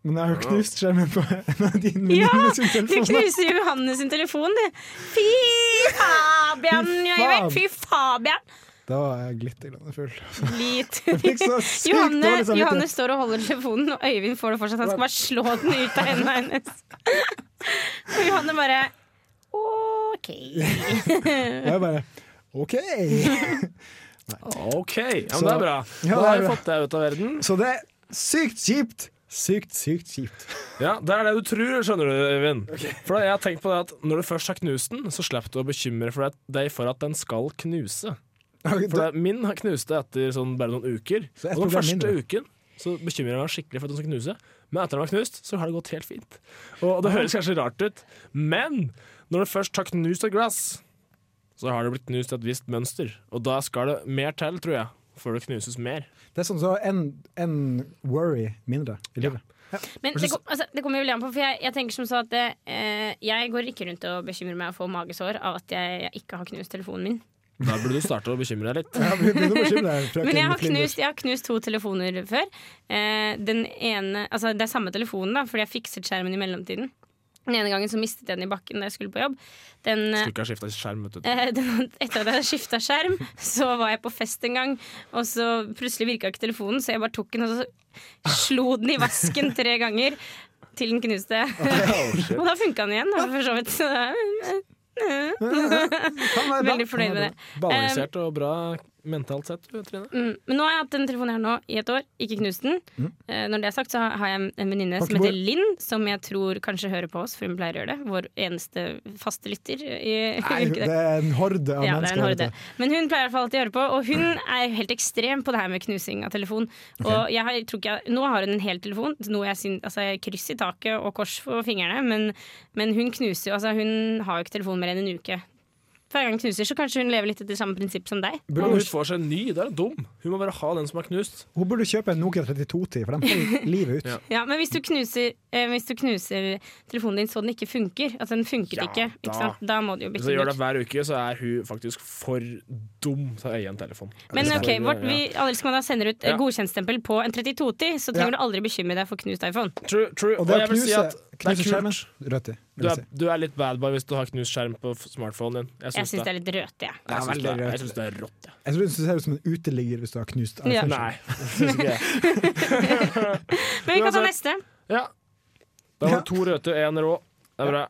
S2: Men jeg har jo knust skjermen på en av dine
S3: Ja!
S2: venninner sin
S3: Du
S2: telefon.
S3: knuser jo Johannes sin telefon, du. Fy Fabian,
S2: Fy
S3: jeg
S2: faen.
S3: vet. Fy Fabian.
S2: Da var jeg glitterglade full.
S3: Litt.
S2: Jeg fikk så sykt
S3: Johanne,
S2: dårlig samvittighet.
S3: Johanne står og holder telefonen, og Øyvind får det fortsatt. Han skal bare slå den ut av hendene hennes. Og Johanne bare OK.
S2: Og jeg bare OK!
S5: OK, ja,
S2: Så-
S5: men det er bra.
S2: Ja,
S5: da har
S2: det er
S5: vi
S2: bra.
S5: fått det ut av verden.
S2: Så det er sykt kjipt. Sykt, sykt kjipt.
S5: Ja, Det er det du tror, skjønner du, Øyvind. For da, jeg har tenkt på det at Når du først har knust den, så slipper du å bekymre for at- deg for at den skal knuse. For det, min har knuste etter sånn bare noen uker. Og
S2: ett
S5: den
S2: problem
S5: første
S2: mindre.
S5: uken så bekymrer jeg meg skikkelig for at den skal knuse. Men etter den var knust, så har det gått helt fint. Og det høres kanskje rart ut, men når du først har knust et glass, så har det blitt knust et visst mønster. Og da skal det mer til, tror jeg, før det knuses mer.
S2: Det er sånn så en, en worry mindre i livet.
S3: Men det, kom, altså, det kommer jo veldig an på, for jeg, jeg tenker som så at det, eh, jeg går ikke rundt og bekymrer meg og får magesår av at jeg, jeg ikke har knust telefonen min.
S5: Da burde du starte å bekymre deg litt.
S2: Begynner å bekymre deg, frøken
S3: Men jeg har,
S2: Flinder.
S3: knust, jeg har knust to telefoner før. Eh, den ene, altså det er samme telefonen, da, fordi jeg fikset skjermen i mellomtiden. Den ene gangen så mistet jeg den i bakken da jeg skulle på jobb. Den, eh,
S5: Skulle ikke ha skifta skjerm, vet du.
S3: eh, den, etter at jeg hadde skifta skjerm, så var jeg på fest en gang, og så plutselig virka ikke telefonen, så jeg bare tok den og så slo den i vasken tre ganger til den knuste.
S5: shit.
S3: og da funka den igjen, da, for så vidt. Så,
S2: være bra.
S3: Veldig fornøyd med det.
S5: Balansert og bra mentalt sett, du, Trine.
S3: Mm, men nå har jeg hatt den telefonen her nå i et år, ikke knust den.
S5: Mm.
S3: Eh, når det er sagt, så har jeg en- en venninne
S5: Har
S3: som
S5: ikke
S3: heter Linn, som jeg tror kanskje hører på oss, for hun pleier å gjøre det. Vår eneste faste lytter. I,
S2: Nei, det er en horde av
S3: ja, det er en
S2: mennesker.
S3: horde. Men hun pleier i hvert fall alltid å høre på, og hun er helt ekstrem på det her med knusing av telefon. Og jeg har, tror ikke jeg, nå har hun en hel telefon, noe jeg syn- altså, kryss i taket og kors for fingrene, men, men hun knuser jo, altså hun har jo ikke telefon mer enn en uke. hver gang hun knuser, så kanskje hun lever litt etter samme prinsipp som deg.
S5: Burde hun få seg en ny? Det er dum. Hun må bare ha den som er knust.
S2: Hun burde kjøpe en Nokia 3210, for den får livet ut.
S3: Ja, men hvis du, knuser, eh, hvis du knuser telefonen din så den ikke funker, altså den funket ikke,
S5: da.
S3: ikke sant? da må du jo
S5: Hvis
S3: bytte
S5: hun gjør
S3: den
S5: det
S3: ut.
S5: hver uke, så er hun faktisk for dum til å eie en telefon.
S3: Men
S5: Eller
S3: ok,
S5: for-
S3: vårt,
S5: ja.
S3: vi, alle skal man da sender ut
S5: Ja.
S3: eh, godkjentstempel på en 3210, så trenger
S5: Ja.
S3: du aldri bekymre deg for knust iPhone.
S5: True, true.
S2: Og
S5: Og,
S2: det å
S5: jeg vil si
S2: knuse-
S5: at det er
S2: knuse skjermen,
S5: kult.
S2: rødt i, vil
S5: Du
S2: jeg
S5: er, du er litt bad boy hvis du har knust skjerm på f- smartphonen din.
S3: Jeg syns det er litt rødt, jeg.
S5: Jeg syns det,
S2: veldig
S5: er-
S2: rødt.
S5: jeg syns det er rått.
S2: Jeg tror du ser ut som en uteligger hvis du har knust
S3: Ja.
S5: Nei, jeg syns ikke det.
S3: Men vi kan ta
S5: Uansett.
S3: neste.
S5: Ja. Da har du to røde, én rå. Det er bra.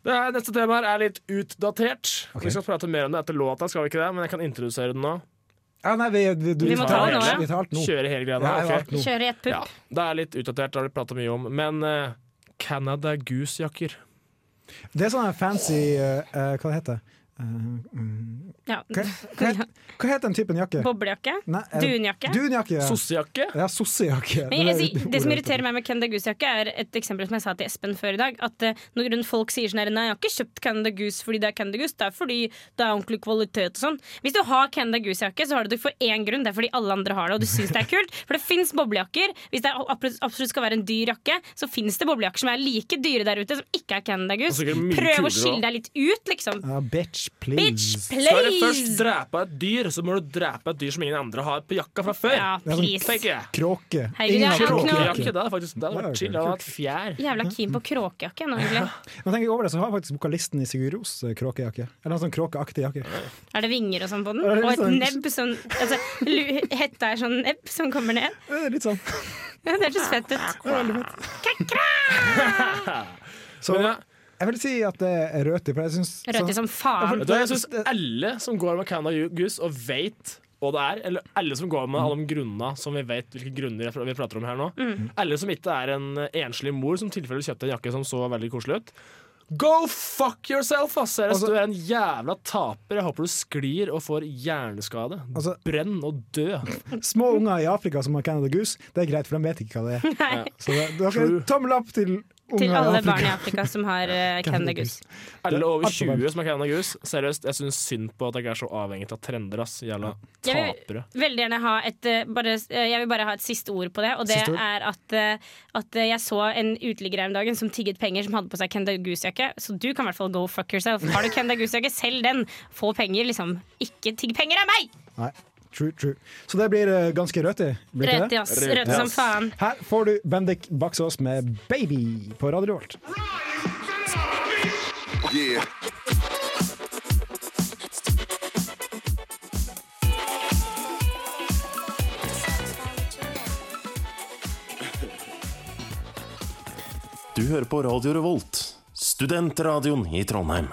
S5: Det her neste tema her er litt utdatert. Vi skal prate mer om det etter låta, skal vi ikke det? Men jeg kan introdusere den nå.
S2: Ja, nei, vi, vi, du,
S5: Vi må ta det nå, ja.
S2: Vi tar alt nå.
S5: Kjøre hele greia nå,
S2: Ja, vi tar
S5: ok.
S2: alt nå.
S3: Kjøre i ett pupp.
S5: Det er litt utdatert, det har vi prata mye om. Men eh, Canada Goose-jakker.
S2: Det er sånne fancy eh, eh, Hva det heter det? mm,
S3: Ja.
S2: hva, hva, het- hva heter den typen jakke?
S3: Boblejakke.
S2: Nei, er det-
S3: Dunjakke.
S2: Dunjakke, ja.
S5: Sossejakke?
S2: Ja, sossejakke.
S3: Men jeg, sier- det som
S2: ordet.
S3: irriterer meg med Canada Goose-jakke, er et eksempel som jeg sa til Espen før i dag. At eh, når grunn folk sier sånn her Nei, jeg har ikke kjøpt Canada Goose fordi det er Canada Goose. Det er fordi det er ordentlig kvalitet og sånn. Hvis du har Canada Goose-jakke, så har du det for én grunn. Det er fordi alle andre har det, og du syns det er kult. For det fins boblejakker. Hvis det er, absolutt- absolutt skal være en dyr jakke, så fins det boblejakker som er like dyre der ute, som ikke er Canada
S5: Og
S3: Goose.
S5: sikkert mye
S3: Prøv
S5: kulere
S3: å skille
S5: også.
S3: deg litt ut, liksom.
S2: Ja, bitch, please.
S3: Bitch,
S5: Skal du først
S3: please!
S5: drepe et dyr, så må du drepe et dyr som ingen andre har på jakka fra før.
S3: Ja,
S2: Det er sånn
S3: please.
S5: Tenker jeg.
S2: Kråke.
S3: Herregud, jeg er ikke noe-
S5: Kråkejakke, det hadde faktisk det hadde vært chill. Det hadde vært fjær.
S3: Jævla keen på kråkejakke nå, egentlig.
S2: Nå tenker jeg over det, så har faktisk vokalisten i Sigurd Ros eh, kråkejakke. Eller en sånn kråkeaktig jakke.
S3: Er det vinger og sånn på den?
S2: Ja, det er
S3: Og
S2: litt
S3: et
S2: sånn-
S3: nebb som altså, lu- Hetta er sånn nebb som kommer ned?
S2: Det er litt sånn.
S3: Ja, det hørtes fett ut.
S2: Så jeg vil si at det er rødt i, for jeg sånn- syns
S3: Rødt i som faen.
S5: Vet du hva, Jeg syns alle som går med Canada Goose og vet hva det er, eller alle som går med alle de grunnene som vi vet hvilke grunner vi prater om her nå,
S3: Mm.
S5: alle som ikke er en enslig mor som tilfeldigvis kjøpte en jakke som så veldig koselig ut Go fuck yourself, ass! Seriøst, du er en jævla taper. Jeg håper du sklir og får hjerneskade. Brenn og dø.
S2: altså, Små unger i Afrika som har Canada Goose, det er greit, for de vet ikke hva det
S3: Nei.
S2: er. Så det, dere, tommel opp til unger
S3: Til
S2: i
S3: alle
S2: Afrika.
S3: barn i Afrika som har uh, Canada Goose.
S5: Alle over
S2: Alt for varmt.
S5: 20 som er Canada Goose. Seriøst, jeg syns synd på at dere er så avhengig av trender, ass. Jævla
S3: Jeg vil
S5: tapere.
S3: veldig gjerne ha et eh, bare, eh, Jeg vil bare ha et siste ord på det, og det
S5: Siste ord?
S3: er at, eh, at eh, jeg så en uteligger her om dagen som tigget penger, som hadde på seg Canada Goose-jakke, så du kan i hvert fall go fuck yourself. Har du Canada Goose-jakke, selg den! Få penger, liksom. Ikke tigg penger av meg!
S2: Nei, true, true. Så det blir eh, ganske rødt i? blir ikke
S3: Rødt i,
S2: det?
S3: ass. Rødt i som faen.
S2: Her får du Bendik Baksås med 'Baby' på Radio Revolt.
S13: Du hører på Radio Revolt, studentradioen i Trondheim.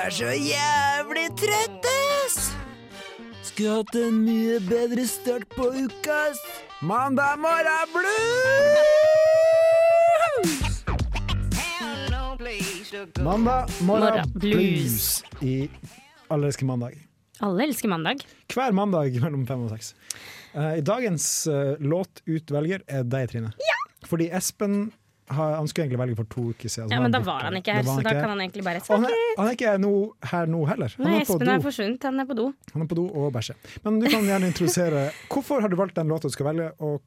S14: Jeg er så jævlig trøtt, ass! Skulle hatt en mye bedre start på uka, ass. Mandag morgen er blues!
S2: Mandag morgen
S3: Morgen
S2: blues
S3: blues.
S2: i Allerske mandag.
S3: Alle elsker mandag.
S2: Hver mandag mellom fem og seks. Eh, I dagens eh, låtutvelger er deg, Trine. Fordi Espen har, han skulle egentlig velge for to uker siden. så
S3: Ja, men da
S2: borte.
S3: var han ikke her,
S2: Da var
S3: så da
S2: ikke
S3: kan
S2: her.
S3: han egentlig bare
S2: Og han er, han er ikke nå, her nå heller. Han
S3: Nei,
S2: er på
S3: Espen
S2: do.
S3: er forsvunnet. Han er på do.
S2: Han er på do og bæsjer. Men du kan gjerne introdusere Hvorfor har du valgt den låta du skal velge, og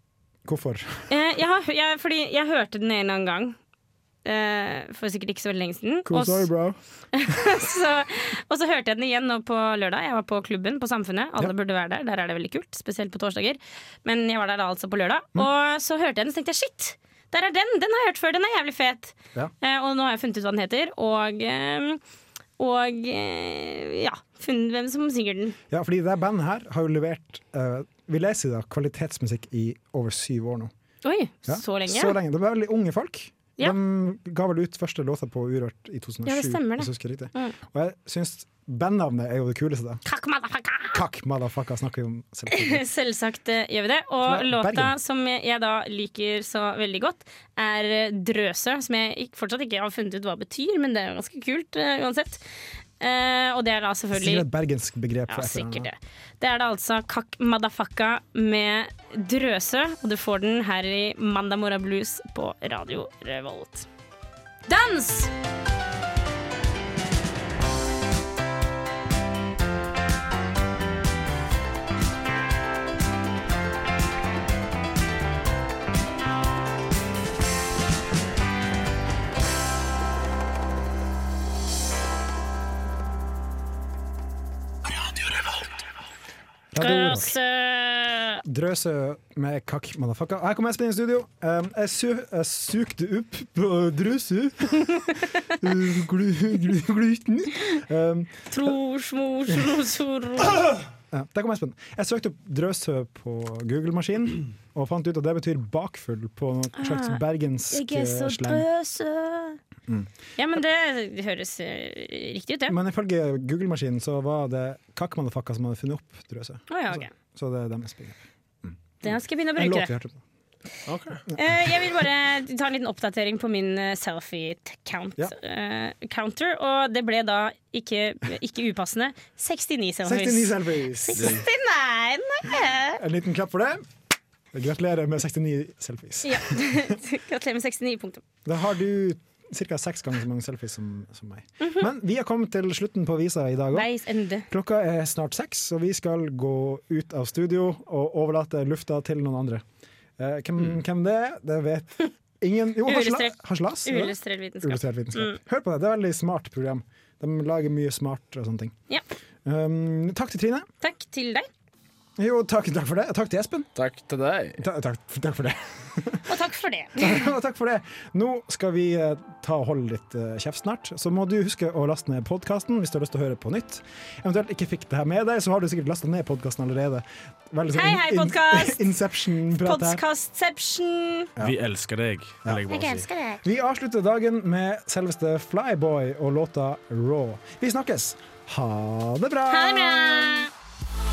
S2: hvorfor?
S3: Eh, jeg, har, jeg, fordi jeg hørte den en eller annen gang. eh, for sikkert ikke så veldig lenge siden.
S2: Cool
S3: Og s-
S2: story, bro.
S3: så, og så hørte jeg den igjen nå på lørdag. Jeg var på klubben på Samfunnet. Alle burde være der. Der er det veldig kult, spesielt på torsdager. Men jeg var der da altså på lørdag.
S2: Mm.
S3: Og så hørte jeg den, så tenkte jeg shit! Der er den! Den har jeg hørt før. Den er jævlig fet.
S2: Ja.
S3: Eh, og nå har jeg funnet ut hva den heter. Og, eh, og eh, ja. Funnet hvem som synger den.
S2: Ja, fordi det bandet her har jo levert eh, Vi leser i dag kvalitetsmusikk i over syv år nå.
S3: Oi,
S2: Ja,
S3: så lenge.
S2: Så lenge. Det var veldig unge folk.
S3: Ja.
S2: De ga vel ut første låta på Urørt i 2007.
S3: Ja, det stemmer det.
S2: hvis jeg husker riktig.
S3: Mm.
S2: Og jeg syns bandnavnet er jo det kuleste. da.
S3: Kakk, motherfucker!
S2: Kakk, motherfucker, snakker vi om. selvfølgelig.
S3: Selvsagt eh, gjør vi det.
S2: Fra
S3: Og låta
S2: Bergen.
S3: som jeg da liker så veldig godt, er eh, 'Drøsø', som jeg ikk- fortsatt ikke har funnet ut hva betyr, men det er jo ganske kult eh, uansett. Eh, og det er da selvfølgelig
S2: Sikkert et bergensk begrep.
S3: ja,
S2: for etternavnet.
S3: sikkert det. Det er da altså Kakk Madafakka med 'Drøsø', og du får den her i Mandamora Blues på Radio Revolt. Dans! Drøs.
S2: Drøse. Drøse med kakk, motherfucker. Her kommer Espen inn i studio. Um, jeg, su jeg sukte opp på drøse. Uh, glu glu gluten. Um,
S3: Tro, smo, slo, soro.
S2: ja, der kom Espen. Jeg søkte opp drøse på Google-maskinen, og fant ut at det betyr bakfull på noe slags
S3: Ah,
S2: bergensk
S3: Jeg er så
S2: eh, slang.
S3: drøse.
S2: Mm.
S3: Ja, men det høres eh, riktig ut, det.
S2: Men ifølge Google-maskinen så var det kakk, motherfucker som hadde funnet opp drøse.
S3: Å ja, ok.
S2: Så det er deres begrep.
S3: Den skal jeg begynne
S2: altså,
S3: å
S2: En låt
S3: bruke.
S2: vi hørte på.
S3: Eh, jeg vil bare ta en liten oppdatering på min eh, selfie-count. eh, counter, og det ble da ikke, ikke upassende 69 selfies.
S2: 69 selfies.
S3: 69!
S2: En liten klapp for det. Gratulerer med 69 selfies.
S3: Ja. Gratulerer med 69 punktum.
S2: Da har du ca. seks ganger så mange selfies som, som meg.
S3: Mhm.
S2: Men vi har kommet til slutten på visa i dag òg.
S3: Veis ende.
S2: Klokka er snart seks, og vi skal gå ut av studio og overlate lufta til noen andre. Eh, hvem,
S15: Mm.
S2: hvem det er, det vet ingen. Jo, Hasla-
S3: Uillustrert-
S2: Haslas. er det?
S3: uillustrert vitenskap.
S2: Uillustrert vitenskap.
S3: Mm.
S2: Hør på det, det er et veldig smart program. De lager mye smart og sånne ting.
S3: Ja.
S2: Um, takk til Trine.
S3: Takk til deg.
S2: Jo, takk, takk for det. Takk til Espen.
S15: Takk til deg.
S2: takk, takk for det.
S3: Og takk for det.
S2: Og Takk for det. Nå skal vi eh, ta og holde litt eh, kjeft snart. Så må du huske å laste ned podkasten hvis du har lyst til å høre på nytt. Eventuelt ikke fikk det her med deg, så har du sikkert lasta ned podkasten allerede. Veldig sånn
S3: Hei, hei,
S2: in- in-
S3: podcast!
S2: Inception-prat her.
S3: Podcastception.
S5: Vi elsker deg. vil jeg bare si.
S3: deg.
S2: Vi avslutter dagen med selveste Flyboy og låta Raw. Vi snakkes! Ha det bra!
S3: Ha det bra.